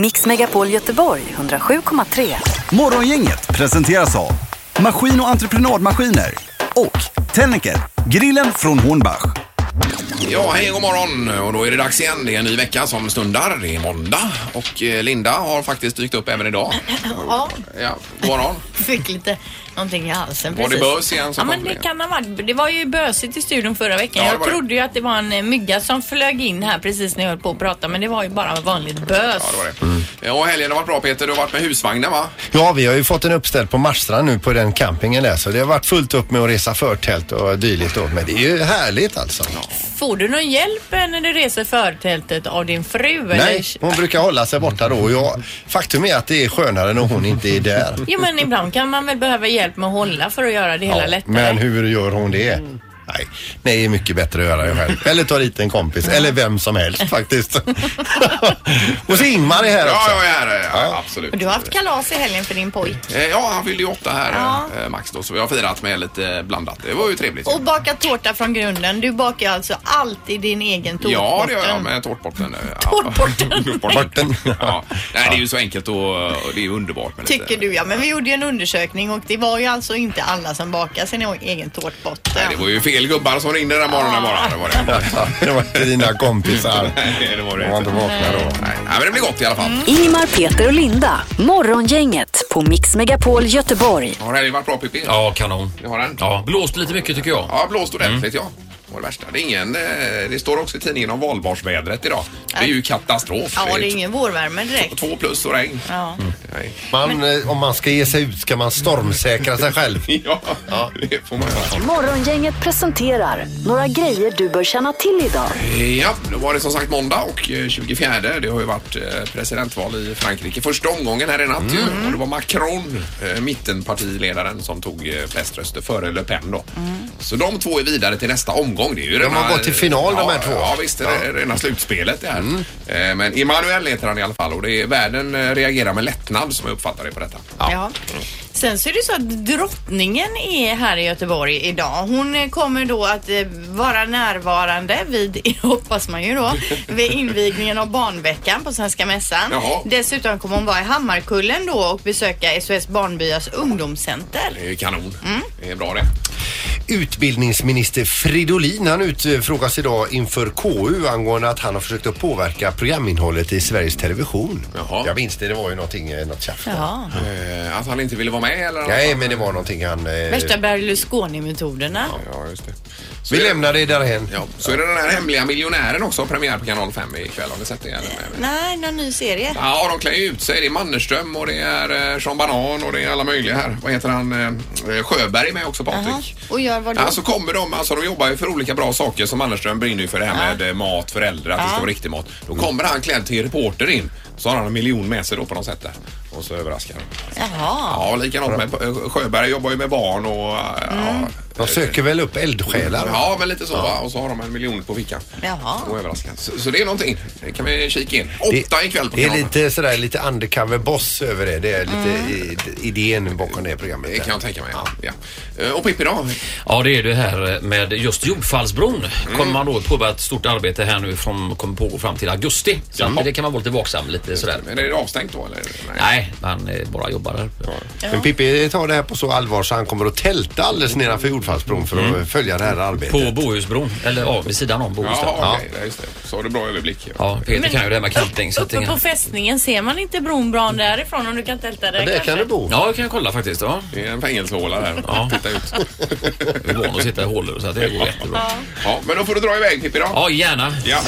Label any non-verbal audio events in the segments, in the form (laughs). Mix Megapol Göteborg 107,3. Morgongänget presenteras av Maskin och entreprenadmaskiner och Tennicker, grillen från Hornbach. Ja, hej god morgon och då är det dags igen. Det är en ny vecka som stundar. Det är måndag och eh, Linda har faktiskt dykt upp även idag. Ja, Ja, god morgon. fick lite någonting i halsen Var det precis. bös igen som Ja, kom men det ner? kan ha varit. Det var ju bösigt i studion förra veckan. Ja, det jag var det. trodde ju att det var en eh, mygga som flög in här precis när jag höll på att prata men det var ju bara vanligt bös. Ja, det var det. Ja, och helgen har varit bra Peter. Du har varit med husvagnen va? Ja, vi har ju fått en uppställd på Marstrand nu på den campingen där så det har varit fullt upp med att resa förtält och dylikt då. Men det är ju härligt alltså. Får du någon hjälp eh, när du reser förtältet av din fru? Nej, Eller? hon brukar hålla sig borta då och jag, faktum är att det är skönare när hon inte är där. Jo men ibland kan man väl behöva hjälp med att hålla för att göra det hela Ja, lättare. men hur gör hon det? Nej, nej, det är mycket bättre att göra det själv. Eller ta dit en kompis, eller vem som helst faktiskt. (laughs) och så Ingmar är här Ja, också. jag är här. Ja, absolut. Och du har haft kalas i helgen för din pojk. Eh, Ja, han fyllde ju åtta här Ja. eh, Max då, så vi har firat med lite blandat. Det var ju trevligt. Och bakat tårta från grunden. Du bakar alltså alltid din egen tårtbotten. Ja, det gör jag med tårtbotten. eh, Ja. Tårtbotten. Tårtbotten. Borten. (laughs) Ja. Nej, det är ju så enkelt och, och det är ju underbart med lite. Tycker du ja, men vi gjorde ju en undersökning och det var ju alltså inte alla som bakade sin egen tårtbotten. Nej, det var ju fel gubbar som ringde den morgonen bara. Det var det. (laughs) Det var inte dina kompisar. Nej, det var det De var inte inte. vakna då. Nej, men det blir gott i alla fall. Mm. Ingemar, Peter och Linda. Morgongänget på Mix Megapol Göteborg. Har helgen varit bra Pippi? Ja, kanon. Det har den? Ja, blåst lite mycket tycker jag. Mm. Ja, blåst ordentligt ja. Det var det värsta. Det, är ingen, eh, det står också i tidningen om valbarsvädret idag. Det är ju katastrof. Ja, det är t- ingen vårvärme direkt. Två plus och regn. Ja. Nej. (laughs) Man, eh, om man ska ge sig ut ska man stormsäkra sig själv. Ja, det får man göra. Morgongänget presenterar några grejer du bör känna till idag. Eh, Ja, då var det som sagt måndag och eh, 24. Det har ju varit eh, presidentval i Frankrike. Första omgången här i natt Mm. ju. Och det var Macron, eh, mittenpartiledaren, som tog eh, flest röster före Le Pen då. Så de två är vidare till nästa omgång. Det är ju de har gått till final, ja, Mm. de här två. Mm. Ja, visst. Det är rena slutspelet det här. Eh, Men Emmanuel heter han i alla fall och det är, världen eh, reagerar med lättnad som jag uppfattar det på detta. Ja. Sen så är det så att drottningen är här i Göteborg idag. Hon eh, kommer då att eh, vara närvarande vid, (laughs) hoppas man ju då, vid invigningen av barnveckan på Svenska Mässan. Jaha. Dessutom kommer hon vara i Hammarkullen då och besöka SOS Barnbyars ungdomscenter. Det är ju kanon. Mm. Det är bra det. Utbildningsminister Fridolin han utfrågas idag inför KU angående att han har försökt att påverka programinnehållet i Sveriges Television. Jaha. Jag minns det, det var ju någonting, eh, något tjafs. där. Ja. Eh, Att han inte ville vara med eller? något Nej, annat. men det var någonting han... eh, Värsta Berlusconi-metoderna. Ja, just det. Så Vi är det- lämnar det därhen. Ja, så är det den här hemliga miljonären också, premiär på kanal 5 ikväll. Har ni sett det? eller? Nej, någon ny serie. Ja, de klär ju ut sig. Det är Mannerström och det är eh, Sean Banan och det är alla möjliga här. Vad heter han? Eh, Sjöberg är med också, Jaha. Patrik. Och gör vad då? Ja, så kommer de, alltså de jobbar ju för olika bra saker som Mannerström brinner ju för det här med eh, mat för äldre, att det ska vara riktig mat. Då kommer han klädd till reporter in. Så har han en miljon med sig då på något sätt där. Och så överraskar han. Jaha. Ja, likadant med eh, Sjöberg jobbar ju med barn och eh, ja, De söker väl upp eldsjälar? Ja, men lite så. Va? Och så har de en miljon på fickan. Jaha. Och överraskande. Så, så det är någonting. Det kan vi kika in. Åtta ikväll på det är kanalen. lite sådär lite undercover boss över det. Det är lite i- idén bakom det programmet. Det där. kan jag tänka mig. Ja. Eh, Och Pippi då? Ja, det är det här med just jordfallsbron. Mm. Kommer man då påbörja ett stort arbete här nu som kommer pågå fram till augusti. Så att det kan man vara lite vaksam lite sådär. Men är det avstängt då eller? Nej, man eh, bara jobbar där. Men Pippi tar det här på så allvar så han kommer att tälta alldeles nedanför jordfallsbron för att Mm. följa det här arbetet. På Bohusbron, eller ja, vid sidan om Jaha, Bohus. där. okej. Ja. Ja, just det. Så har du bra överblick. Ja, Peter kan ju det här med camping. Så att Uppe på ingen... fästningen ser man inte bron bra därifrån om du kan tälta där Ja, där kan kanske? du bo. Ja, det kan jag kolla faktiskt. Ja. Det är en fängelsehåla där. Ja. Titta ut. Jag är van att sitta i hålor så att det går jättebra. Ja, men då får du dra iväg Pippi då. Ja, gärna. Ja.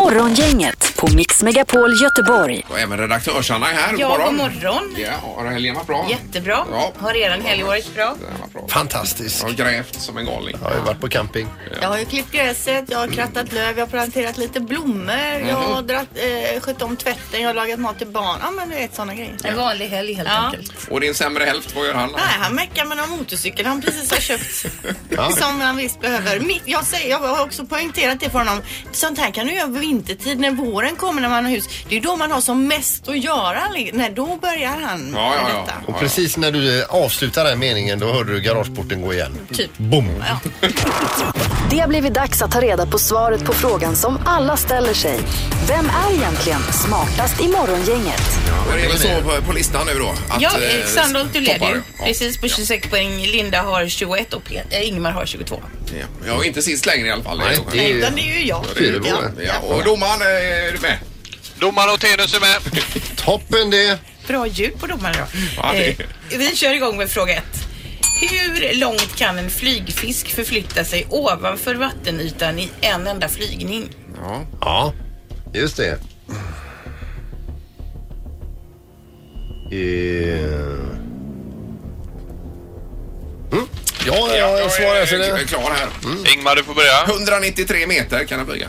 Morgongänget på Mix Megapol Göteborg. Och även redaktörs-Anna är här. Ja, god morgon. Ja, har helgen varit bra? Jättebra. Ja. Har eran helg varit bra? Den var bra. Fantastiskt. Jag har grävt som en galning. Jag har ju varit på camping. Jag har ju klippt gräset, jag har krattat löv, jag har planterat lite blommor, jag har dratt, eh, skött om tvätten, jag har lagat mat till barn. Ja men du vet sådana grejer. En vanlig helg helt Ja. enkelt. Och din sämre hälft, vad gör han? Nej, han meckar med någon motorcykel han precis har (laughs) köpt. Ja. Som han visst behöver. Mitt- Jag, säger, jag har också poängterat det för honom. Sånt här kan du göra vintertid när våren kommer när man har hus. Det är då man har som mest att göra. När då börjar han Ja, ja, med ja. detta. Och precis när du eh, avslutar den meningen då hörde du garageporten gå igen. Typ. Boom! Ja. Det har blivit dags att ta reda på svaret på frågan som alla ställer sig. Vem är egentligen smartast i morgongänget? Men det är väl så på, på listan nu då? Att, Ja, eh, Sandholt du leder toppar. ju. Ja. Precis på 26 poäng. Linda har 21 och Pet- eh, Ingmar har 22. Ja. Jag är inte sist längre i alla fall. Nej, Ja. det är ju- Utan det är ju jag. det är det typ, Ja. bara. Ja, och domaren, eh, är du med? Domaren och Tenus är med. Toppen det! Bra ljud på domarna idag. Mm, Ja, det- Eh, vi kör igång med fråga ett. Hur långt kan en flygfisk förflytta sig ovanför vattenytan i en enda flygning? Ja, just det. Eh. Mm. Ja, jag svarar efter Jag är det. klar här. Ingmar, du får börja. 193 meter kan den flyga.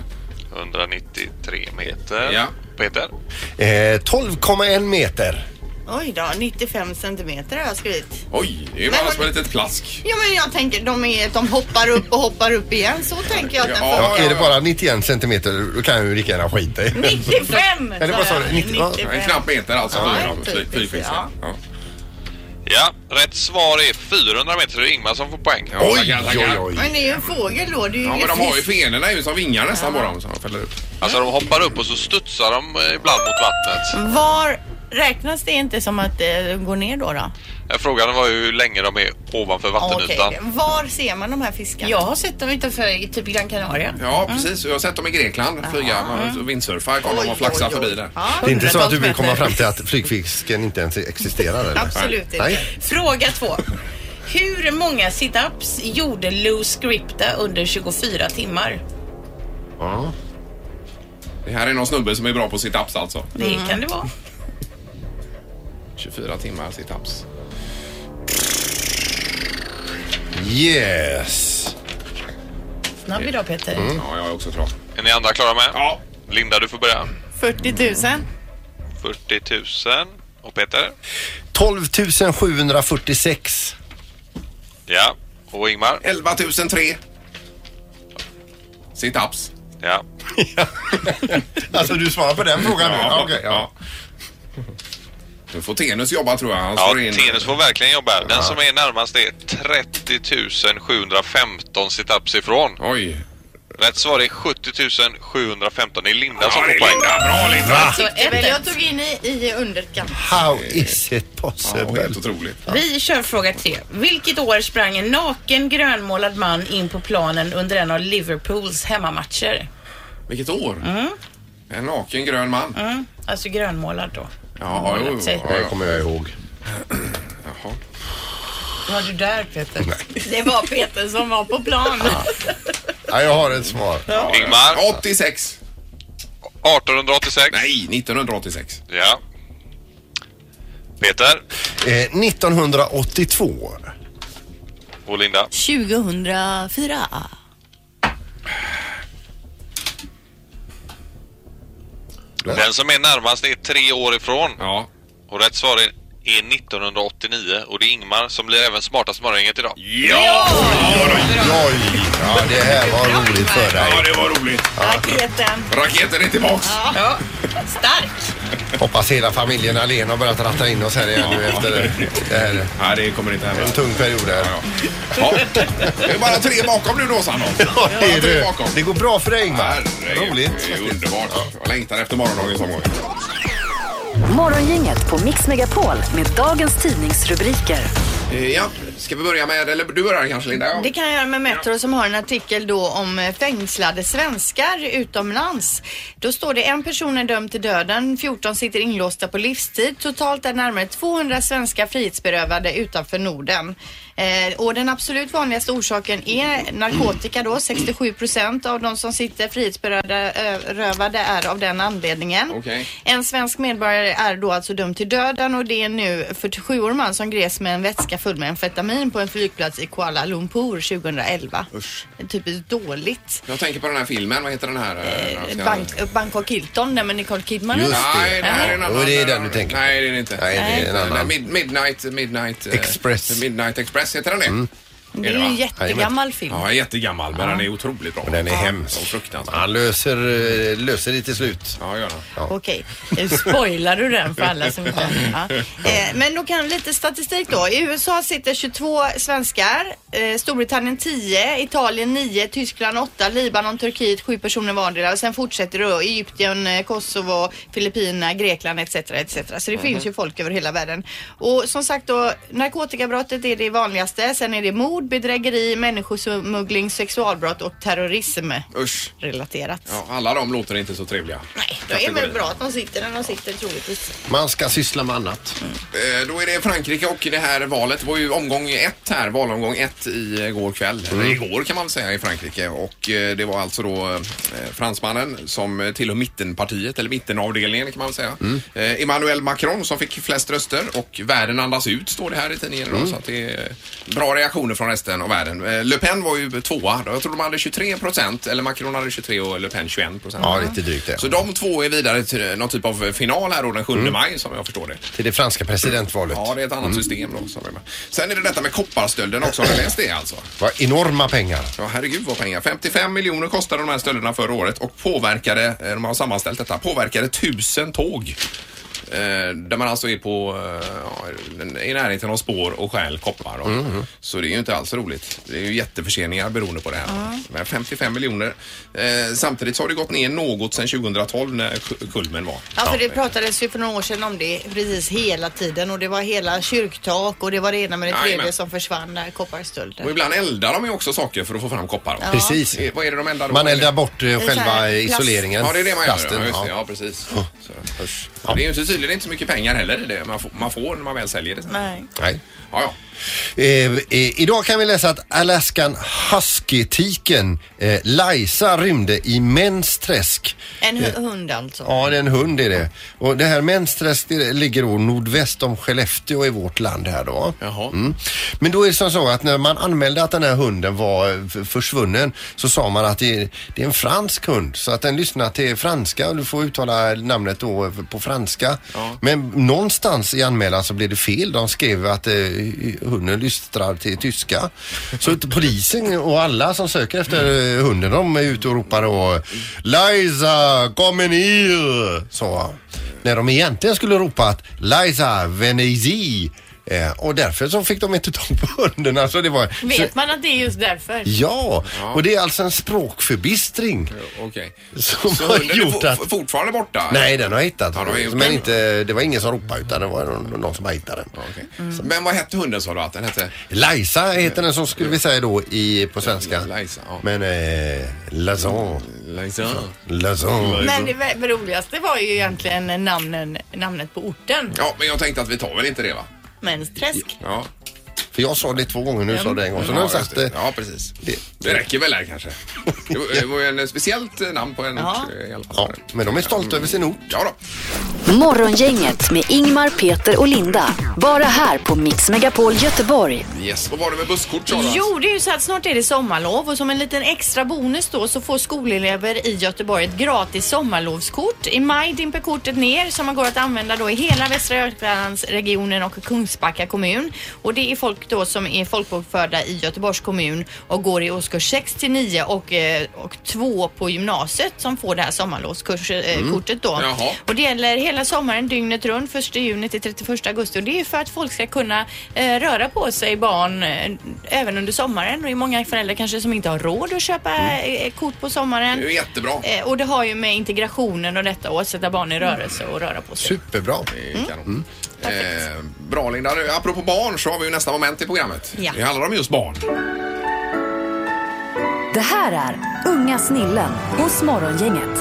193 meter. Ja. Peter? Eh, 12,1 meter. Oj då, 95 centimeter har jag skrivit. Oj, det är ju bara som ett litet plask. Ja men jag tänker de, är, de hoppar upp och hoppar upp igen. Så tänker jag att den Ja, Ja, funkar. är det bara 91 centimeter då kan jag ju lika gärna skita i. 95! Eller vad sa du? jag. 90, ja. En knapp meter alltså. Ja, flyger de, typ, fly- flygfisken. ja. Ja. Ja, rätt svar är 400 meter. Det är Ingmar som får poäng. Ja, Oj, tackar, oj, tackar. oj. Men det är ju en fågel då. Det är ju Ja, men ingen de har ju fisk. fenorna ju som vingar nästan på dem. Så de fäller upp. Alltså de hoppar upp och så studsar de eh, ibland mot Mm. vattnet. Var räknas det inte som att eh, gå ner då? då? Eh, Frågan var ju hur länge de är ovanför vattenytan. Var ser man de här fiskarna? Jag har sett dem utanför typ Gran Canaria. Ja, precis. Jag har sett dem i Grekland flyga. Man Mm. Windsurfar kom de och flaxar förbi där. Det är inte så att du vill komma fram till att flygfisken inte ens existerar? Eller? Absolut inte. Nej. Fråga två. Hur många sit-ups gjorde Lou Scripta under 24 timmar? Ja. Det här är någon snubbe som är bra på sit-ups alltså. Det kan det vara. 24 timmar sit-ups. Yes. Snabb idag Peter. Ja, jag är också klar. Är ni andra klara med? Ja. Linda, du får börja. 40 000. 40 000. Och Peter? 12 746. Ja. Och Ingmar? 11 003. Sit-ups. Ja. Alltså du svarar på den frågan nu? Ja, okej, ja. Nu får Tenus jobba tror jag. Han Ja, slår in- Tenus får verkligen jobba. här. Den som är närmast är 30 715 situps ifrån. Oj. Rätt svar är 70 715. Det är Linda som Ja, det får är poäng. Linda. Bra Linda! Så ett. Jag tog in i, i underkant. How is it Ja, possible? helt otroligt. Vi kör fråga tre. Vilket år sprang en naken grönmålad man in på planen under en av Liverpools hemmamatcher? Vilket år? En naken grön man. Alltså grönmålad då. Ja, jo, Målat sig. ja, Det ja. kommer jag ihåg. Jaha. Var du där Peter? Det var Peter som var på (laughs) plan. Ja, jag har ett svar. Ingmar? 86. 1886. Nej, 1986. Ja. Peter Eh, 1982. och Linda. 2004. Den som är närmast är tre år ifrån. Ja. Och rätt svar är, är 1989. Och det är Ingmar som blir även smartast morgongänget idag. Oj, ja, det här var roligt för Ja, dig. det var roligt. Raketen. Raketen är tillbaks. Ja. Stark. Hoppas hela familjen Alén har börjat ratta in oss här igen nu efter det här. Nej, det kommer inte hända. En tung period här. Ja. Det är bara tre bakom nu då, Sandholt. Ja, det, är du. bakom. det går bra för dig Ingmar. Herregud, Roligt. Det är underbart. Jag längtar efter morgondagens omgång. Morgongänget på Mix Megapol med dagens tidningsrubriker. Eh, Ja, ska vi börja med, eller du börjar kanske Linda? Ja. Det kan jag göra med Metro som har en artikel då om eh, fängslade svenskar utomlands. Då står det en person är dömd till döden, 14 sitter inlåsta på livstid. Totalt är närmare 200 svenskar frihetsberövade utanför Norden. Eh, och den absolut vanligaste orsaken är narkotika då. 67 procent av de som sitter frihetsberövade eh, är av den anledningen. Okej. En svensk medborgare är då alltså dömd till döden och det är nu 47 år man som greps med en vätska full med amfetamin på en flygplats i Kuala Lumpur 2011. Usch. Typiskt dåligt. Jag tänker på den här filmen, vad heter den här? eh, när de ska- Bank, Bangkok Hilton, nej men Nicole Kidman. Just Nej, det här är en Ja, annan. det är den du tänker på. Nej, det är det inte. Nej, det är en Den där annan. Mid Midnight... Midnight eh, Express. Midnight Express heter den det. Det är det ju en va? jättegammal film. Mm. Ja, jättegammal men den är otroligt bra. Men den är hemsk. Och fruktansvärt. Han löser, eh, löser det till slut. Ja, gör den. Okej, nu spoilar du den för alla som inte... Ja. Eh, Men då kan lite statistik då. I USA sitter 22 svenskar, eh, Storbritannien 10, Italien 9, Tyskland 8, Libanon, Turkiet 7 personer vardera och sen fortsätter det då Egypten, eh, Kosovo, Filippinerna, Grekland etc. etc. Så det finns ju folk över hela världen. Och som sagt då, narkotikabrottet är det vanligaste. Sen är det mord, bedrägeri, människosmuggling, sexualbrott och terrorism Usch. relaterat. Ja, alla de låter inte så trevliga. Nej, det är väl bra att de sitter där de sitter troligtvis. Man ska syssla med annat. Eh, Då är det Frankrike och det här valet. Det var ju omgång ett här, valomgång ett igår kväll. Eller Mm. igår kan man väl säga i Frankrike. Och eh, det var alltså då eh, fransmannen som eh, tillhör mittenpartiet, eller mittenavdelningen kan man väl säga. Mm. Eh, Emmanuel Macron som fick flest röster och världen andas ut står det här i tidningen Mm. idag. Så att det är eh, bra reaktioner från resten av världen. Eh, Le Pen var ju tvåa. Jag tror de hade 23 procent, eller Macron hade 23 och Le Pen 21 procent. Ja, lite drygt det. Mm. Så de två är vidare till någon typ av final här då den 7 maj som jag förstår det. Till det franska presidentvalet. Ja, det är ett annat system då. Som är med. Sen är det detta med kopparstölden också. Har ni läst det alltså? Vad enorma pengar. Ja, herregud vad pengar. 55 miljoner kostade de här stölderna förra året och påverkade, eh, de har sammanställt detta, påverkade tusen tåg. Eh, där man alltså är på, eh, ja, i närheten av spår och stjäl koppar. Då. Så det är ju inte alls roligt. Det är ju jätteförseningar beroende på det här. Men 55 miljoner. Eh, samtidigt så har det gått ner något sedan 2012 när ku- kulmen var. Ja, för det pratades ju för några år sedan om det precis hela tiden och det var hela kyrktak och det var det ena med det tredje Jajamän. som försvann där, Och kopparstölden. ibland eldar de ju också saker för att få fram koppar. va? Precis. Eh, Vad är det de eldar då? Man eldar bort eh, så själva här, plast. isoleringen. Ja, det är det man gör. Plasten, ja, just det. ja. ja, precis. Så, usch. Det är ju inte, tydligen inte så mycket pengar heller i det man får, man får när man väl säljer det. sen. Nej. Nej. Ja, ja. Eh, eh, idag kan vi läsa att Alaskan Husky-tiken eh, Liza rymde i mensträsk. En hu- hund alltså. Ja, det är en hund är det. Och det här mensträsk det ligger då nordväst om Skellefteå i vårt land här då. Jaha. Mm. Men då är det som så att när man anmälde att den här hunden var eh, f- försvunnen så sa man att det är, det är en fransk hund så att den lyssnar till franska och du får uttala namnet då eh, på franska. Men någonstans i anmälan så blev det fel. De skrev att eh, hunden lystrar till tyska. Så att polisen och alla som söker efter eh, hunden de är ute och ropar och Liza, kom ner! Så. När de egentligen skulle ropa att Liza, venezi Eh, och därför så fick de inte tag på hunden. Alltså det var... så, Vet man att det är just därför? ja, och det är alltså en språkförbistring Okej. som (laughs) Så har hunden är gjort fo- att... fo- fortfarande borta? Nej, den har hittat Ja, de har gjort Men det. inte, det var ingen som ropade utan det var någon, någon som hittade den. Ja, okej. Mm. Så- Men vad hette hunden sa du att den hette? Liza heter den som skulle vi säga då i, på svenska. Liza, ja. Men eh, Lazan. Liksom. Lazan. Men det vä- roligaste var ju egentligen namnen, namnet på orten. Ja, men jag tänkte att vi tar väl inte det va? Mensträsk. Ja, För jag sa det två gånger nu, sa det en gång. Så nu har ja, jag just sagt det. det. ja precis. det- Det räcker väl där (laughs) kanske? Det var- Det var ju en speciellt eh, namn på en Ja. ort eh, i alla fall. Ja, men de är stolta över sin ort. Ja då. Morgongänget med Ingmar, Peter och Linda. Bara här på Mix Megapol Göteborg. Yes, vad var det med busskort sa du? att- Jo, det är ju så att snart är det sommarlov och som en liten extra bonus då så får skolelever i Göteborg ett gratis sommarlovskort. I maj dimper kortet ner som man går att använda då i hela Västra Götalandsregionen och Kungsbacka kommun. Och det är folk då som är folkbokförda i Göteborgs kommun och går i årskurs 6 till 9 och, eh, och 2 på gymnasiet som får det här sommarlovskortet då. Jaha. Och det gäller hela sommaren dygnet runt, 1 juni till 31 augusti. Och det är för att folk ska kunna eh, röra på sig barn eh, även under sommaren. Och det är många föräldrar kanske som inte har råd att köpa eh, kort på sommaren. Mm. Det är ju jättebra. Eh, och det har ju med integrationen och detta och att sätta barn i rörelse och röra på sig. Superbra. Kanon. Eh, bra Linda. Nu, Apropå barn så har vi ju nästa moment i programmet. Ja. Det handlar om just barn. Det här är Unga snillen hos Morgongänget.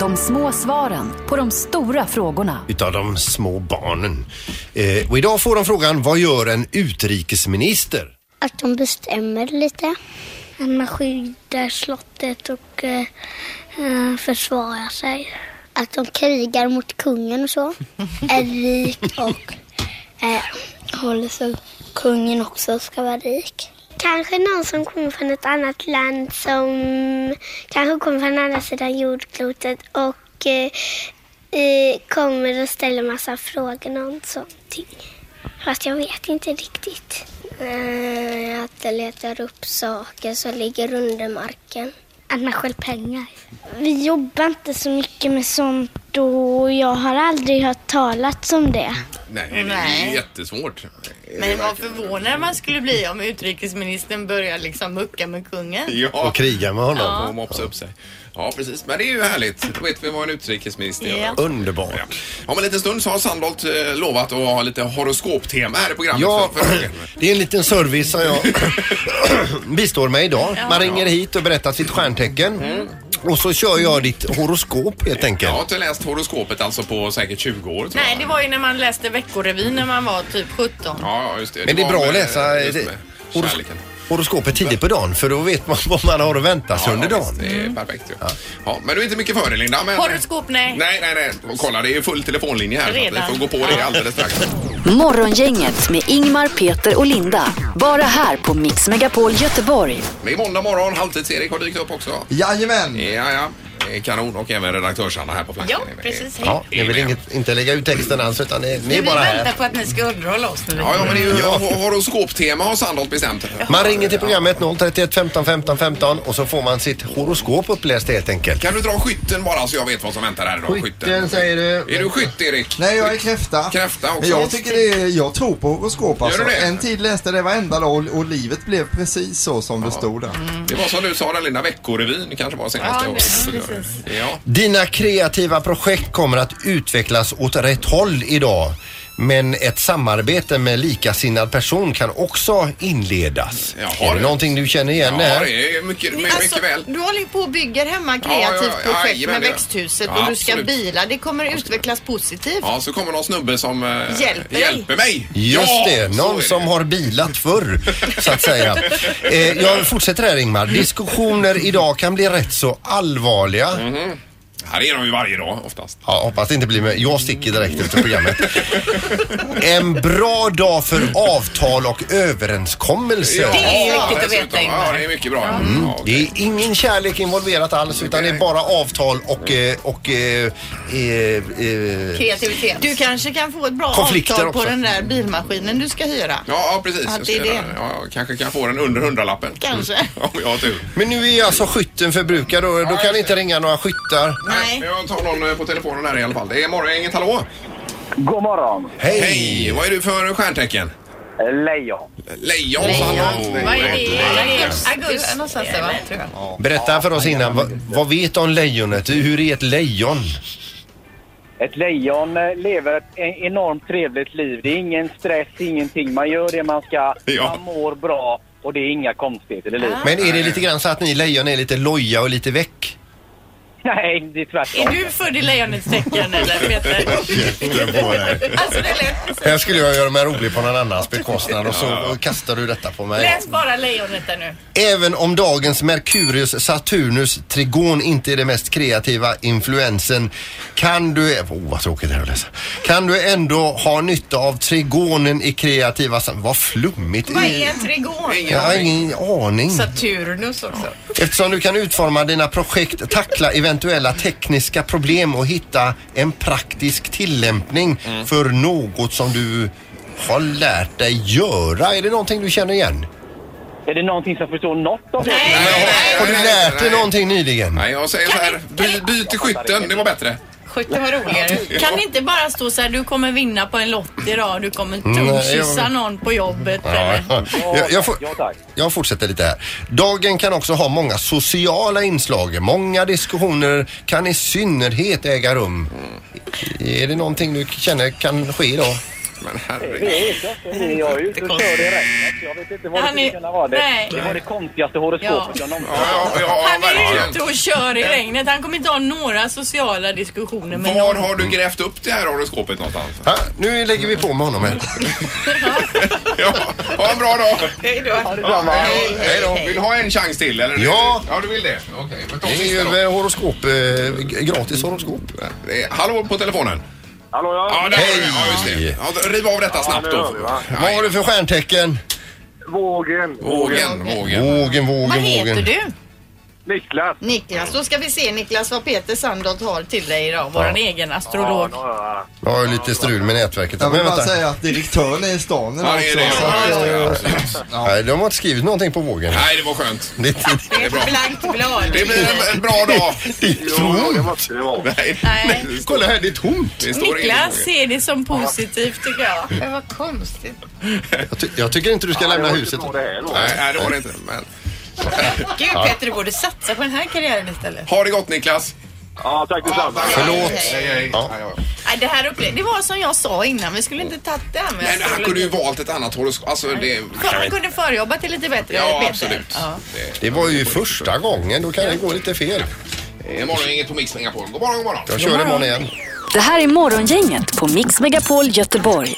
De små svaren på de stora frågorna. utav de små barnen. Eh, och idag får de frågan, vad gör en utrikesminister? att de bestämmer lite. Att man skyddar slottet och eh, eh, försvarar sig. Att de krigar mot kungen och (laughs) så. Är rik och eh, håller så kungen också ska vara rik. Kanske någon som kommer från ett annat land som kanske kommer från andra sidan jordklotet och eh, eh, kommer och ställer massa frågor om sånt. Fast jag vet inte riktigt. Eh, Att jag letar upp saker som ligger under marken. Att man stjäl pengar. Vi jobbar inte så mycket med sånt och jag har aldrig hört talat om det. Nej, det är ju Nej. jättesvårt. Men vad förvånad man skulle bli om utrikesministern börjar liksom mucka med kungen. Ja, Och kriga med honom. och mopsa upp sig. Ja, precis. Men det är ju härligt. Då vet vi vad en utrikesminister gör. Ja. Ja. Underbart. Om en liten stund så har Sandholt eh, lovat att ha lite horoskoptema här i programmet. Ja, för, för dagen. (clears throat) det är en liten service som jag (clears throat) bistår med idag. Man ringer hit och berättar sitt stjärntecken. Mm. Och så kör jag ditt horoskop helt jag enkelt. har inte läst horoskopet alltså på säkert 20 år. tror Nej, jag. det var ju när man läste Veckorevyn när man var typ 17. Ja, ja, just det. Men det är var bra att med- läsa eh, just det- med horos Kärleken. horoskopet tidigt på dagen för då vet man vad man har att vänta sig under ja, visst, dagen. det är perfekt ju. Ja. men du är inte mycket före Linda. Men... Mm. Horoskop, nej. Nej, nej, nej. Och kolla, det är ju full telefonlinje här. så att Redan. Vi får gå på det Ja. alldeles strax. Morgongänget med Ingmar, Peter och Linda. Bara här på Mix Megapol Göteborg. Men i måndag morgon, halvtids-Erik har dykt upp också. Jajamän! Ja, ja. Det är Kanon och även redaktörs-Anna här på platsen. Ja, precis. Hej. Ja, ni vill inget, inte lägga ut texten alls utan ni, ni är vi bara väntar här. på att ni ska underhålla oss nu. Ja, ja, men det är ju hor- horoskoptema har Sandholt bestämt. Man ringer till programmet 031 15 15 15 och så får man sitt horoskop uppläst helt enkelt. Kan du dra skytten bara så jag vet vad som väntar här idag? Skytten säger du. Är du skytt Erik? Nej, jag är kräfta. Kräfta också. Men jag tycker det är, eh, jag tror på horoskop alltså. du det? En tid läste jag det varenda dag och, och livet blev precis så som det stod där. Det var som du sa den lilla veckorevyn kanske var senaste Ja, året. precis. Ja, Dina kreativa projekt kommer att utvecklas åt rätt håll idag. Men ett samarbete med likasinnad person kan också inledas. Jaha, är det du. någonting du känner igen ja här? det är mycket, mycket Alltså, väl. Du håller ju på och bygger hemma Ja, kreativt ja, ja, projekt jajamän, med det gör. växthuset Ja, och du ska absolut. bila. Det kommer utvecklas positivt. Ja, så kommer någon snubbe som eh, Hjälper dig. hjälper mig. Just ja, det, så är någon det. som har bilat förr så att (laughs) säga. Eh, jag fortsätter här Ingmar. Diskussioner idag kan bli rätt så allvarliga. Mhm. Här är de ju varje dag oftast. Ja, hoppas det inte blir med. Jag sticker direkt efter programmet. En bra dag för avtal och överenskommelser. Det är ju viktigt att dessutom. veta, Ingmar. Ja, det är mycket bra. Mm. Ja, Det okej. är ingen kärlek involverat alls utan det är bara avtal och, eh, och eh, eh, eh, Kreativitet. Du kanske kan få ett bra Konflikter avtal också. på den där bilmaskinen du ska hyra. Ja, ja, precis. Att Jag ska det är göra det. det. Ja, jag kanske kan få den under hundralappen. (laughs) Kanske. Om jag har tur. Men nu är alltså skytten förbrukad och då kan det inte ringa några skyttar. Nej. Men Jag tar någon eh, på telefonen här i alla fall. Det är morgongänget, hallå! God morgon. Hej! Hej! Vad är du för stjärntecken? Lejon. Lejon, Lejon. Sandholt. Vad är det? Är det Augusti någonstans där, va? Tror jag. Berätta för oss innan, vad, vad vet du om lejonet? Hur är ett lejon? Ett lejon eh, lever ett e- enormt trevligt liv. Det är ingen stress, ingenting. Man gör det man ska, Ja. man mår bra och det är inga konstigheter i livet. Men är det lite grann så att ni lejon är lite loja och lite väck? Nej, det är tvärtom. Är du född i lejonets (laughs) tecken eller Peter? alltså det lät... Här skulle jag göra mig rolig på någon annans bekostnad och så och kastar du detta på mig. Läs bara lejonet där nu. Även om dagens Merkurius Saturnus trigon inte är det mest kreativa influensen kan du, oh, vad tråkigt det här att läsa, kan du ändå ha nytta av trigonen i kreativa sam- Vad flummigt. Vad är en trigon? Jag har ingen aning. Saturnus också. Eftersom du kan utforma dina projekt, tackla eventuella tekniska problem och hitta en praktisk tillämpning Mm. för något som du har lärt dig göra. Är det någonting du känner igen? Är det någonting som förstår något av det? Nej, Nej, Har du nej, lärt dig nej. någonting nyligen? Nej, jag säger så här. By, byt till skytten, det var bättre. sjuttio var roligare. Kan det inte bara stå så här, du kommer vinna på en lott idag, du kommer tungkyssa jag- någon på jobbet. Ja, eller? jag, jag, får, Ja, tack. jag fortsätter lite här. Dagen kan också ha många sociala inslag. Många diskussioner kan i synnerhet äga rum. Är det någonting du känner kan ske idag? Men Det herregud. vet jag inte. Ni är ju ute och kör i regnet. Jag vet inte vad det Han är- skulle kunna vara. Det, nej. det var det konstigaste horoskopet Ja. jag någonsin Ja, ja, ja, Han är verkligen. ute och kör i regnet. Han kommer inte ha några sociala diskussioner med Var någon. har du grävt upp det här horoskopet någonstans? (laughs) Ha, nu lägger vi på med honom här. Ja, ha en bra dag! har detsamma. Hej, hej då. Vill du ha en chans till eller? Ja. Ja, du vill det? Okej, men ta Det är sista ju då. eh, horoskop, eh, g- gratis horoskop. Det är- Hallå på telefonen. Hallå, Ja, där var det. Ja, just det. Hej. Ja, då- riv av detta snabbt nu då. hör vi, va? Vad har du för stjärntecken? Vågen. Vågen, vågen. Vågen, vågen, Vad heter vågen. du? Niklas. Niklas, då ska vi se Niklas vad Peter Sandholt har till dig idag. Våran egen astrolog. Ja, Jag har ju lite strul med nätverket. Jag vill Men bara vänta. säga att direktören är i stan idag Ja, det är det. också, så att, Ja, eh, just det, absolut. Nej, de har inte skrivit någonting på vågen. Nej, det var skönt. Det är Det är ett blankt blad. Det blir en- en bra dag. det måste det vara. Nej. Nej. det står- Kolla här, det är tomt. det står Niklas ingenting. ser det som positivt tycker jag. Det var konstigt. Jag, ty- jag tycker inte du ska lämna huset. Nej, nej, det var det inte. Men. Gud Peter, du borde satsa på den här karriären istället. Ha det gott Niklas. Ja, tack detsamma. Förlåt. Hej, hej. Ja. Ja, ja. Nej, det här upple- det var som jag sa innan, vi skulle inte tagit det här med Men han astrologi. kunde ju valt ett annat horoskop. Alltså det... Han kunde förjobba till lite bättre Ja, Peter. absolut. Ja. Det- Det var ju första gången, då kan det gå lite fel. Eh, Imorgon är inget på Mix Megapol. God morgon, god morgon. Jag kör imorgon igen. Det här är Morgongänget på Mix Megapol Göteborg.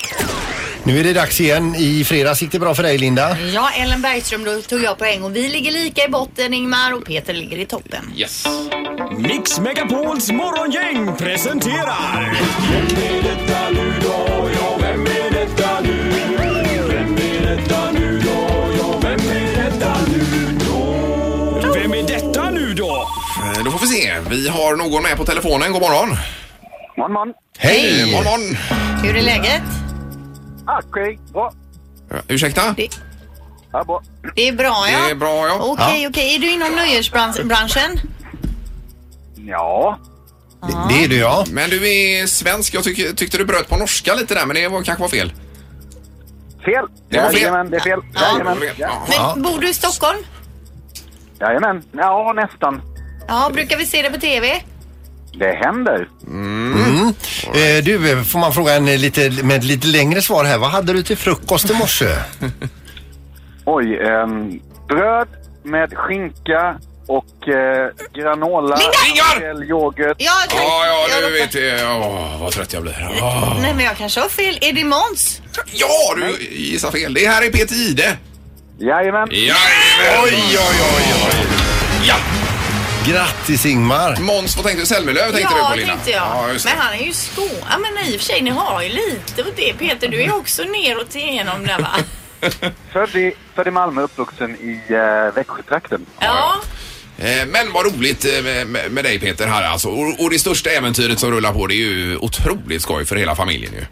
Nu är det dags igen. I fredags gick det bra för dig Linda. Ja, Ellen Bergström då tog jag poäng och vi ligger lika i botten Ingmar och Peter ligger i toppen. Yes. Mix Megapols morgongäng presenterar... Vem är detta nu då? Eh, Då får vi se. Vi har någon med på telefonen. God morgon. Man, man. Eh, Hej! God morgon. Hur är läget? Okej, bra. Eh, Ursäkta? Det- Ja, bra. Det är bra ja. Det är bra, ja. Okej, okej. Är du inom nöjesbranschen? Ja. Det är du ja. Men du är svensk. Jag tyck, tyckte du bröt på norska lite där, men det var, kanske var fel. Fel. Det var fel. Jajamän, det är fel. Jajamän. Ja. Men bor du i Stockholm? Jajamän. Ja, nästan. Ja, brukar vi se det på TV? Det händer. Eh, Du, eh, får man fråga en eh, lite, med ett lite längre svar här. Vad hade du till frukost i (laughs) morse? Oj. ehm, bröd med skinka och eh, granola. Linda! Lingar! Yoghurt. Ja, tack. Ja, ja, Jag nu råkar- vet jag. Åh, vad trött jag blir. Åh. Nej, men jag kanske har fel. Är det Måns? Ja, du gissar fel. Det här är Peter Ide. Jajamän. Jajamän. Oj, oj, oj, oj. Ja. Grattis Ingmar! Måns, vad tänkte du? Selmelöv tänkte ja, du på, Linda? tänkte jag. Ja, just det. men han är ju skå... Ja, men i och för sig, ni har ju lite åt det. Peter, du Mm. är också neråt igenom (laughs) där va? Född i, född i Malmö, uppvuxen i eh, Växjötrakten. Ja. Eh, Men vad roligt eh, med, med- med dig Peter här alltså. Och, och det största äventyret som rullar på det är ju otroligt skoj för hela familjen ju.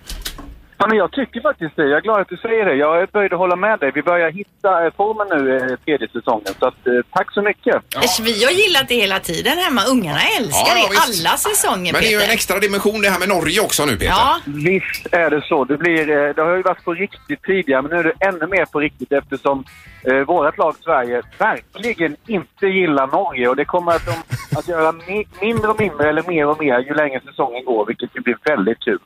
Ja, men jag tycker faktiskt det. Jag är glad att du säger det. Jag är böjd att hålla med dig. Vi börjar hitta eh, formen nu, eh, tredje säsongen. Så att, eh, tack så mycket. Äsch, Vi har gillat det hela tiden hemma. Ungarna älskar Ja, ja, det. visst. Alla säsonger, Men det är Peter. ju en extra dimension det här med Norge också nu Peter. Ja, Visst är det så. Det, blir, eh, det har ju varit på riktigt tidigare, men nu är det ännu mer på riktigt eftersom eh, vårt lag Sverige verkligen inte gillar Norge. Och det kommer att, de, att göra mi- mindre och mindre, eller mer och mer, ju längre säsongen går, vilket ju blir väldigt kul.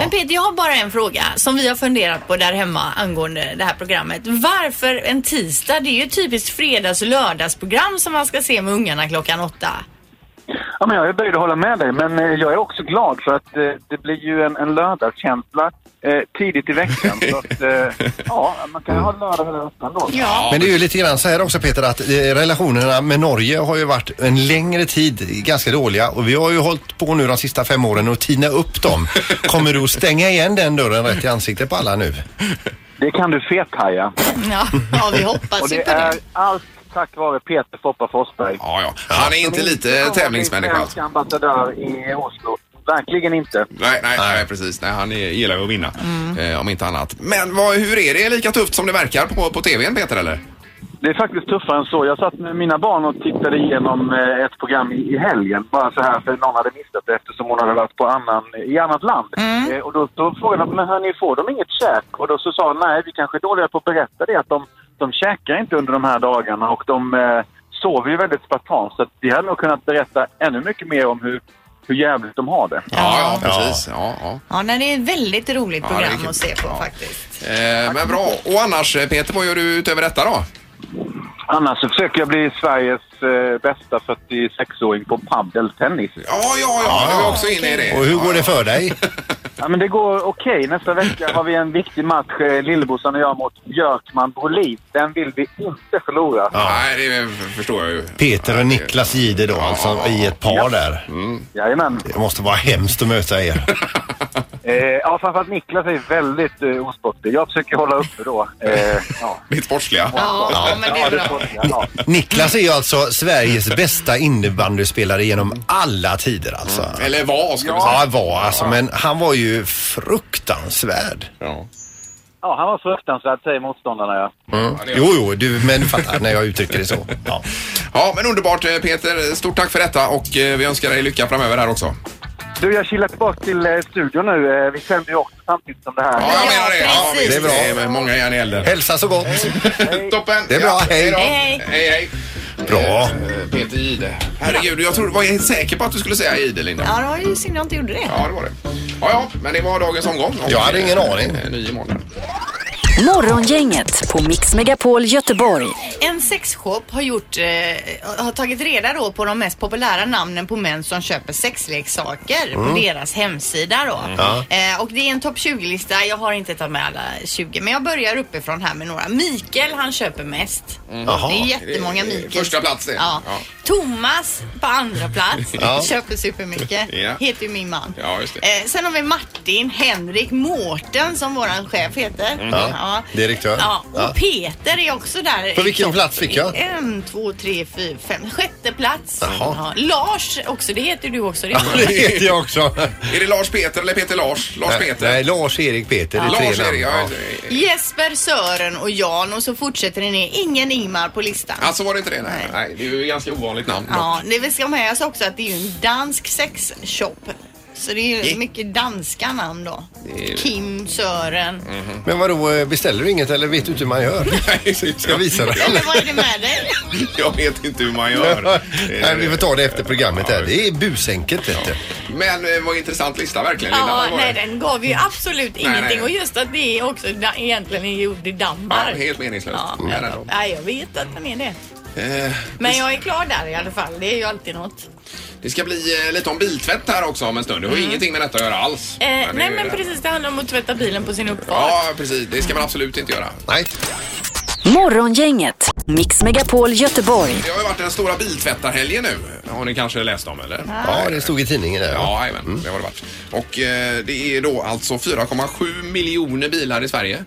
Men Peter, jag har bara en fråga som vi har funderat på där hemma angående det här programmet. Varför en tisdag? Det är ju ett typiskt fredags och lördagsprogram som man ska se med ungarna klockan åtta. Ja, men jag är böjd att hålla med dig, men eh, jag är också glad för att eh, det blir ju en, en lördagskänsla eh, tidigt i veckan. så att, eh, ja, man kan ha lördag eller öppna då. Men det är ju lite grann så här också Peter att eh, relationerna med Norge har ju varit en längre tid ganska dåliga och vi har ju hållit på nu de sista fem åren och tina upp (laughs) dem. Kommer du att stänga igen den dörren rätt i ansiktet på alla nu? Det kan du fethaja. Ja, ja vi (laughs) Och hoppas ju det på det. är allt tack vare Peter Foppa Forsberg. Ja, ja. Han är inte lite tävlingsmänniska Han är svensk alltså. ambassadör i Oslo. Verkligen inte. Nej, nej, nej, precis. Nej, han är, gillar ju att vinna. Eh, om inte annat. Men vad, hur är det? Är det lika tufft som det verkar på, på TVn Peter eller? Det är faktiskt tuffare än så. Jag satt med mina barn och tittade igenom eh, ett program i i helgen. Bara så här för någon hade missat det eftersom hon hade varit på annan, i annat land. Eh, Och då, då frågade de, men hörni, får de inget käk? Och då så sa de, nej, vi kanske är dåliga på att berätta det att de, de käkar inte under de här dagarna och de eh, sover ju väldigt spartanskt. Så att vi hade nog kunnat berätta ännu mycket mer om hur, hur jävligt de har det. Ja, ja precis. Ja, ja. Ja, nej, det är ett väldigt roligt Ja, program det är kul. att se på Ja. faktiskt. Eh, men bra. Och annars eh, Peter, vad gör du utöver detta då? Annars så försöker jag bli Sveriges eh, bästa 46-åring på padeltennis. Ja, ja, ja. Du är också inne i det. Och hur går det för dig? Ja, men det går okej. Nästa vecka har vi en viktig match, eh, Lillebrorsan och jag, mot Björkman Brolin. Den vill vi inte förlora. Nej, det förstår jag ju. Peter och Niklas Jihde då alltså i ett par där. Jajamän. Det måste vara hemskt att möta er. Eh, ja, framförallt Niklas är väldigt eh, osportig. Jag försöker hålla uppe då. Eh, ja. Mitt sportsliga. Ja, men det är bra. Ja, Niklas är ju alltså Sveriges bästa innebandyspelare genom alla tider alltså. Mm. Eller var ska vi säga. Ja, var alltså. Men han var ju fruktansvärd. ja, han var fruktansvärd, säger motståndarna ja. Mm. Jo, jo, du, men du fattar när jag uttrycker det så. Ja. Ja, men underbart eh, Peter. Stort tack för detta och eh, vi önskar dig lycka framöver här också. Du, jag kilar tillbaka till eh, studion nu. Eh, vi sänder ju också samtidigt som det här. Ja, jag menar det. Ja, precis. visst. Det är bra. med många järn i elden. Hälsa så gott. Toppen. Det är bra. Ja, Hej. då. Hej, Hej, hej. Bra. Eh, Peter Jihde. Herregud, jag tror, var helt säker på att du skulle säga Jihde, Ja, Linda. det var ju synd jag inte gjorde det. Ja, det var det. Ja, ja, men det var dagens omgång. Och, Jag hade ingen eh, aning. eh, Ny imorgon. Morgongänget på Mix Megapol Göteborg. En sexshop har, gjort, eh, har tagit reda då på de mest populära namnen på män som köper sexleksaker på deras hemsida. Då. Eh, och det är en topp 20-lista. Jag har inte tagit med alla 20 men jag börjar uppifrån här med några. Mikael han köper mest. Det är Jaha. jättemånga Mm. Det är Mikael. första plats det. Ja. Ja. Thomas på andra plats Ja. (laughs) köper supermycket. Ja. Heter ju min man. Ja, just det. Eh, sen har vi Martin, Henrik, Mårten som våran chef heter. Ja. Mhm. Direktör. Ja. Och Ja. Peter är också där. På vilken plats fick jag? En, två, tre, fyra, fem. Sjätte plats. Jaha. Ja. Lars också, det heter du också. Det Det heter jag också. Är det Lars Peter eller Peter Lars? Lars Peter? Nej, Lars-Erik Peter. Det är tre namn. Lars-Erik, ja. Ja. Jesper, Sören och Jan och så fortsätter det ner. Ingen Ingmar på listan. Alltså var det inte det? Nej, nej det är ju ganska ovanligt namn. Ja, det vi ska ha med oss också att det är ju en dansk sexshop. Så det är ju Ja. mycket danska namn då. Kim, Sören. Men vadå, eh, beställer du inget eller vet du inte hur man gör? (laughs) Nej, Ska jag visa dig? Men vad är det med dig? Jag vet inte hur man gör. (laughs) Nej, vi får ta det efter programmet här. Det är busenkelt vet du. Men eh, vad intressant lista verkligen. Linda. Ja, Vad var nej det? den gav ju absolut nej. ingenting och just att det är också da- egentligen är gjord i Ja, Danmark. helt meningslöst. Ja, Nej, nej, nej. nej, jag vet att den är det. Eh, Men jag är klar där i alla fall. Det är ju alltid något. Det ska bli eh, lite om biltvätt här också om en stund. Det har ju ingenting med detta att göra alls. Mm. Eh, Men det är nej, ju men det. precis. Det handlar om att tvätta bilen på sin uppfart. Ja, precis. Det ska man absolut inte göra. Nej. Morgongänget, Mix Megapol Göteborg. Det har ju varit den stora biltvättarhelgen nu. Har ni kanske läst om eller? Ja, det stod i tidningen där. Ja, jajamän, det har det varit. Och eh, det är då alltså 4,7 miljoner bilar i Sverige.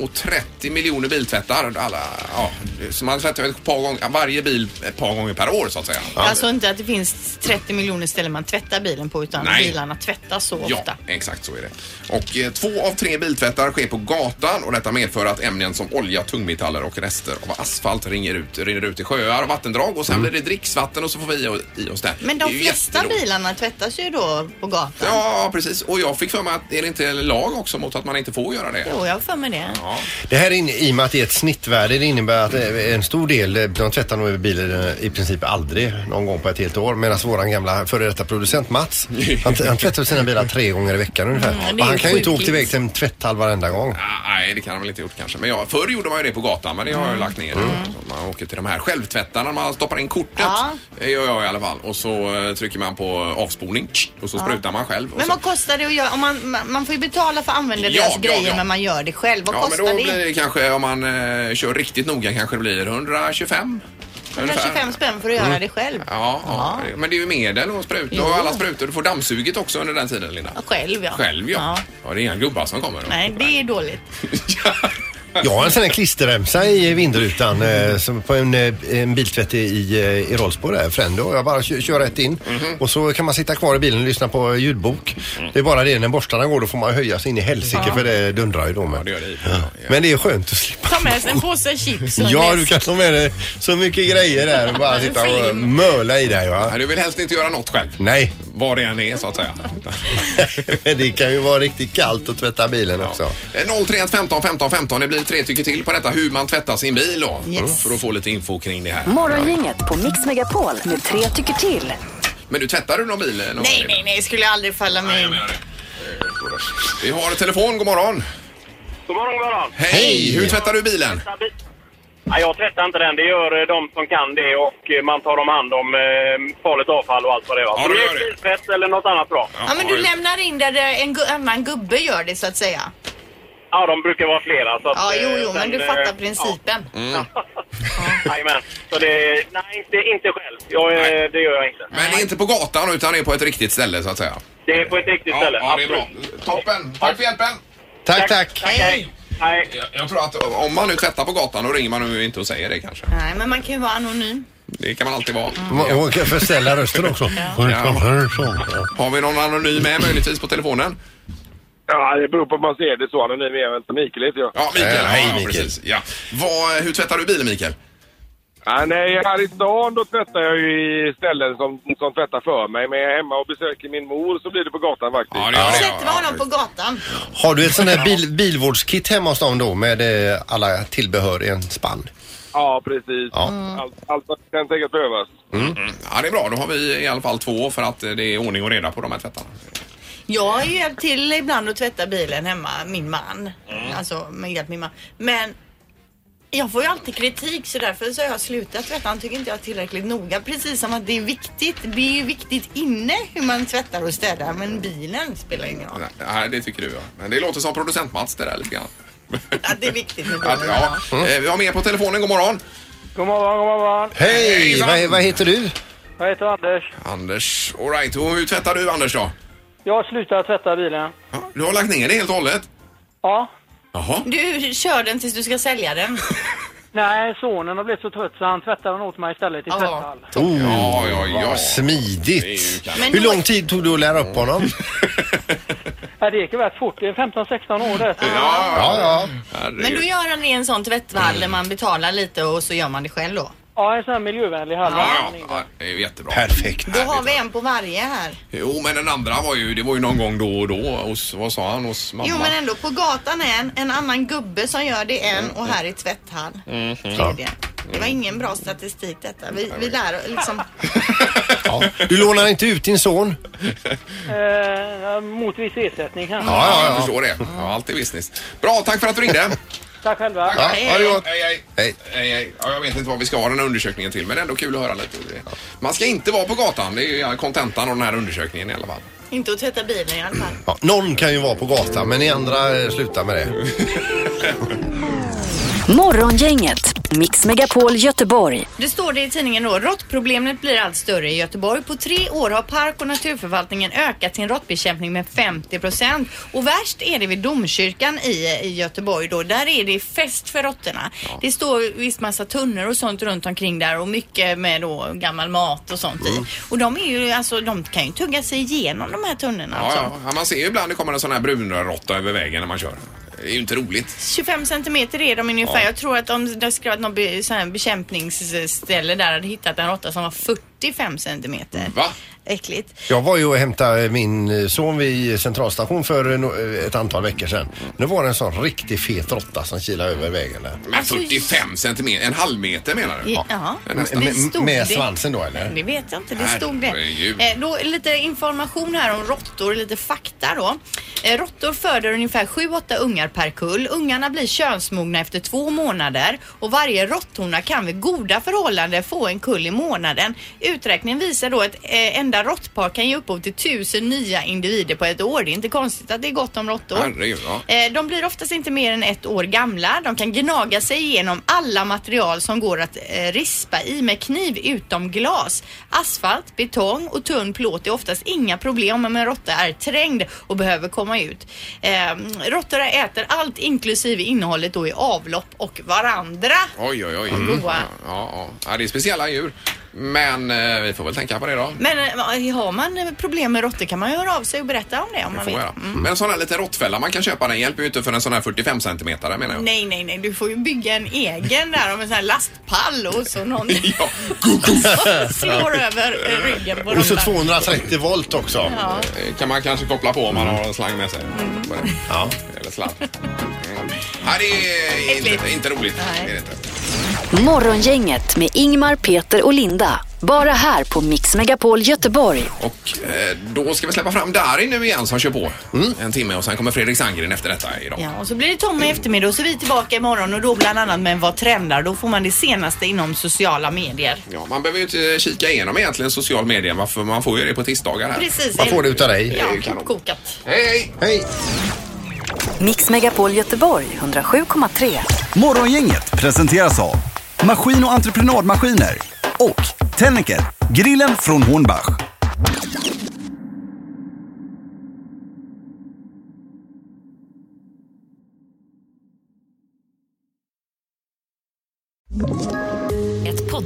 Och 30 miljoner biltvättar. Alla, ja, så man tvättar ett par gånger, varje bil ett par gånger per år så att säga. Alltså inte att det finns 30 miljoner ställen man tvättar bilen på utan Nej. bilarna tvättas så Ja, ofta. exakt så är det. Och eh, två av tre biltvättar sker på gatan och detta medför att ämnen som olja, tungmetaller och rester av asfalt rinner ut, rinner ut i sjöar och vattendrag och sen blir det dricksvatten och så får vi i- i oss det. Mm. Men Det är de ju flesta alltså? jätteroligt. bilarna tvättas ju då på gatan. Ja, precis. Och jag fick för mig att är det inte lag också mot att man inte får göra det? Jo, jag har för mig det. Ja. Det här in, i och med att det är ett snittvärde det innebär att eh, en stor del, eh, de tvättar nog bilen eh, i princip aldrig någon gång på ett helt år. Medan våran gamla före detta producent Mats, han, han tvättar sina bilar tre gånger i veckan ungefär. Mm, det är Men han ju kan ju inte åka sjukligt. iväg till en tvätthall varenda gång. Ah, Nej, det kan de väl inte gjort kanske. Men jag, förr gjorde man ju det på gatan, men det har jag Mm. ju lagt ner. Så Man åker till de här självtvättarna, man stoppar in kortet. Ja. Det gör jag i alla fall. Och så eh, trycker man på avspolning och så sprutar man själv. Och Men så... vad kostar det att göra? Om man, man- man får ju betala för att använda Ja, deras ja, grejer ja. men man gör det själv. Vad Ja, men kostar då det? blir det kanske, om man eh, kör riktigt noga, kanske det blir 125. ungefär. 125 spänn för att göra Mm. det själv. Ja, ja, men det är ju medel och sprutor och alla sprutor. Du får dammsuget också under den tiden, Linda. Ja, Själv ja. Själv ja. ja. det är inga gubbar som kommer. Nej, det är dåligt. Jag har en sån här klisterremsa i vindrutan eh, som på en, eh, en biltvätt i, i, eh, i Rolfsborg där, Frendo. Jag bara kör, kör rätt in Mhm. och så kan man sitta kvar i bilen och lyssna på ljudbok. Mm. Det är bara det när borstarna går då får man höja sig in i helsike för det dundrar ju då med. det gör det ju. Men det är skönt att slippa. Ta med sig en påse chips och en Ja, du läsk. kan ta med dig så mycket grejer där och bara En sitta och film. möla i dig va. Nej, Du vill helst inte göra något själv. Nej, (laughs) Vad det än är så att säga. men det kan ju vara riktigt kallt att tvätta bilen också. 031 15 15 15. Det blir tre tycker till på detta hur man tvättar sin bil då. Yes. För att få lite info kring det här. Morgongänget på Mix Megapol med tre tycker till. Men du tvättar du någon bil? eh, Någon Nej, gång? nej, nej, skulle jag aldrig falla mig in. Vi har telefon, god morgon. God morgon, god morgon. Hej! Hur tvättar du bilen? Nej, jag tvättar inte den. Det gör eh, de som kan det och eh, man tar om hand om eh, farligt avfall och allt vad det var. Ja, Så det det gör är det. biltvätt eller något annat bra. Ja, men du lämnar in där det- en gu- annan gubbe gör det så att säga. Ja, de brukar vara flera. Så att, Ja, jo, eh, jo, men sen, du eh, fattar principen. Ja, jajamän. Så det, nej, det är inte själv. Jag, eh, Nej. det gör jag inte. Men det är inte på gatan utan det är på ett riktigt ställe så att säga. Det är på ett riktigt Ja, ställe. ja, det är bra. Toppen. Tack för hjälpen. Tack, tack. Hej. Jag, jag tror att om man nu tvättar på gatan då ringer man nu inte och säger det kanske. Nej, men man kan ju vara anonym. Det kan man alltid vara. Och kan förställa rösten också. Har vi någon anonym med möjligtvis på telefonen? Ja, det beror på om man ser det så. Anonym är väl inte Mikael heter jag. Ja, Mikael. ja, ja, precis. Ja. Vad, eh, hur tvättar du bilen Mikael? Ja, nej, här i stan då tvättar jag ju i ställen som, som tvättar för mig. Men jag är hemma och besöker min mor så blir det på gatan faktiskt. Ja, gör det, Sätter man honom på gatan? Har du ett sånt här bil, bilvårdskit hemma hos dem då med eh, alla tillbehör i en spann? Ja, precis. Ja. Mm. Allt, allt som kan tänkas behövas. Ja, det är bra. Då har vi i alla fall två för att eh, det är ordning och reda på de här tvättarna. Jag har ju hjälpt till ibland att tvätta bilen hemma, min man. Mm. Alltså med hjälp min man. Men jag får ju alltid kritik så därför så har jag slutat tvätta. Han tycker inte jag är tillräckligt noga. Precis som att det är viktigt. Det är ju viktigt inne hur man tvättar och städar men bilen spelar ingen roll. Nej, det tycker du ja. Men det låter som producent Mats det där lite grann. Att det är viktigt med Att, bilen. ja. Eh, Vi har med på telefonen. God morgon. God morgon, god morgon. Hej! Vad, vad heter du? Jag heter Anders. Anders. All right. Och hur tvättar du Anders då? Jag har slutat tvätta bilen. Du har lagt ner det helt och hållet? Ja. Jaha. Du kör den tills du ska sälja den. Nej, sonen har blivit så trött så han tvättar den åt mig istället i tvätthall. Oh, ja, ja, ja. Smidigt. kanon. Hur lång tid tog det att lära upp honom? Nej, Det gick ju rätt fort. Det är 15-16 år det. Ja, ja. Men då gör han det i en sån tvättvall där man betalar lite och så gör man det själv då. Ja, en sån här miljövänlig hall. Ja, ja, ja, det är ju jättebra. Perfekt. Då har vi en på varje här. Jo, men den andra var ju, det var ju någon gång då och då hos, vad sa han, hos mamma? Jo men ändå, på gatan är en, en annan gubbe som gör det en och här i tvätthall. Ja. Det. det var ingen bra statistik detta. Vi, vi lär liksom... Du lånar inte ut din son? Eh, mot viss ersättning kanske. Jag förstår det. Ja, allt är business. Bra, tack för att du ringde. Tack själva. Ja, ha det gott. (laughs) Hej, hej. Hej. Hej, hej. Ja, jag vet inte vad vi ska ha den här undersökningen till, men det är ändå kul att höra lite. Man ska inte vara på gatan. Det är ju kontentan av den här undersökningen i alla fall. Inte att tvätta bilen i alla fall. Ja, någon kan ju vara på gatan men ni andra eh, slutar med det. Morgongänget, Mix Megapol Göteborg. Det står det i tidningen då. Råttproblemet blir allt större i Göteborg. På tre år har Park och naturförvaltningen ökat sin råttbekämpning med 50 procent. Och värst är det vid domkyrkan i, i Göteborg då. Där är det fest för råttorna. Det står visst massa tunnor och sånt runt omkring där och mycket med då gammal mat och sånt Mm. i. Och de är ju alltså, de kan ju tugga sig igenom de här tunnorna Ja, alltså. ja. ja, man ser ju ibland det kommer en sån här brunråtta över vägen när man kör. Det är ju inte roligt. 25 centimeter är de ungefär. Ja. Jag tror att om det skulle varit någon be, sån här bekämpningsställe där hade hittat en råtta som var 45 centimeter. Va? Äckligt. Jag var ju och hämtade min eh, son vid centralstation för eh, no- ett antal veckor sedan. Nu var det en sån riktigt fet råtta som kilade över vägen där. Men 45 centimeter, en halv meter menar du? Alltså, Ja, ja. Med, Det stod med, med det. svansen då eller? Det vet jag inte, det Herregud. stod det. Eh, då, lite information här om råttor, lite fakta då. Eh, råttor föder ungefär 7-8 ungar per kull. Ungarna blir könsmogna efter två månader och varje råtthona kan vid goda förhållanden få en kull i månaden. Uträkningen visar då att eh, enda råttpar kan ge upphov till tusen nya individer på ett år. Det är inte konstigt att det är gott om råttor. Herregud, ja. Eh, De blir oftast inte mer än ett år gamla. De kan gnaga sig igenom alla material som går att eh, rispa i med kniv utom glas. Asfalt, betong och tunn plåt är oftast inga problem om en råtta är trängd och behöver komma ut. Eh, Råttor äter allt inklusive innehållet då i avlopp och varandra. Oj, oj, oj. Mm. Ja, ja, ja, det är speciella djur. Men eh, vi får väl tänka på det då. Men eh, har man eh, problem med råttor kan man ju höra av sig och berätta om det om Det får man vill. man göra. Men en sån här liten råttfälla man kan köpa, den hjälper ju inte för en sån här 45 centimeter menar jag. Nej, nej, nej. Du får ju bygga en egen där om en sån här lastpall och så (laughs) någon (laughs) slår över eh, ryggen på Och så dem. 230 volt också. Ja. Eh, Kan man kanske koppla på om Mm. man har en slang med sig. Ja. Eller sladd. Mm. Nej, det är inte, inte roligt. Det är det inte. Morgongänget med Ingmar, Peter och Linda. Bara här på Mix Megapol Göteborg. Och eh, då ska vi släppa fram Darin nu igen som kör på en timme och sen kommer Fredrik Sandgren efter detta idag. Ja, och så blir det Tommy i eftermiddag och så är vi tillbaka imorgon och då bland annat med Vad trendar? Då får man det senaste inom sociala medier. Ja, man behöver ju inte kika igenom egentligen social media, man får, man får ju det på tisdagar här. Precis. Man får det utav dig. Ja, kokat. Hej, hej! Mix Megapol Göteborg 107,3. Morgongänget presenteras av Maskin och entreprenadmaskiner och Tennicker, grillen från Hornbach.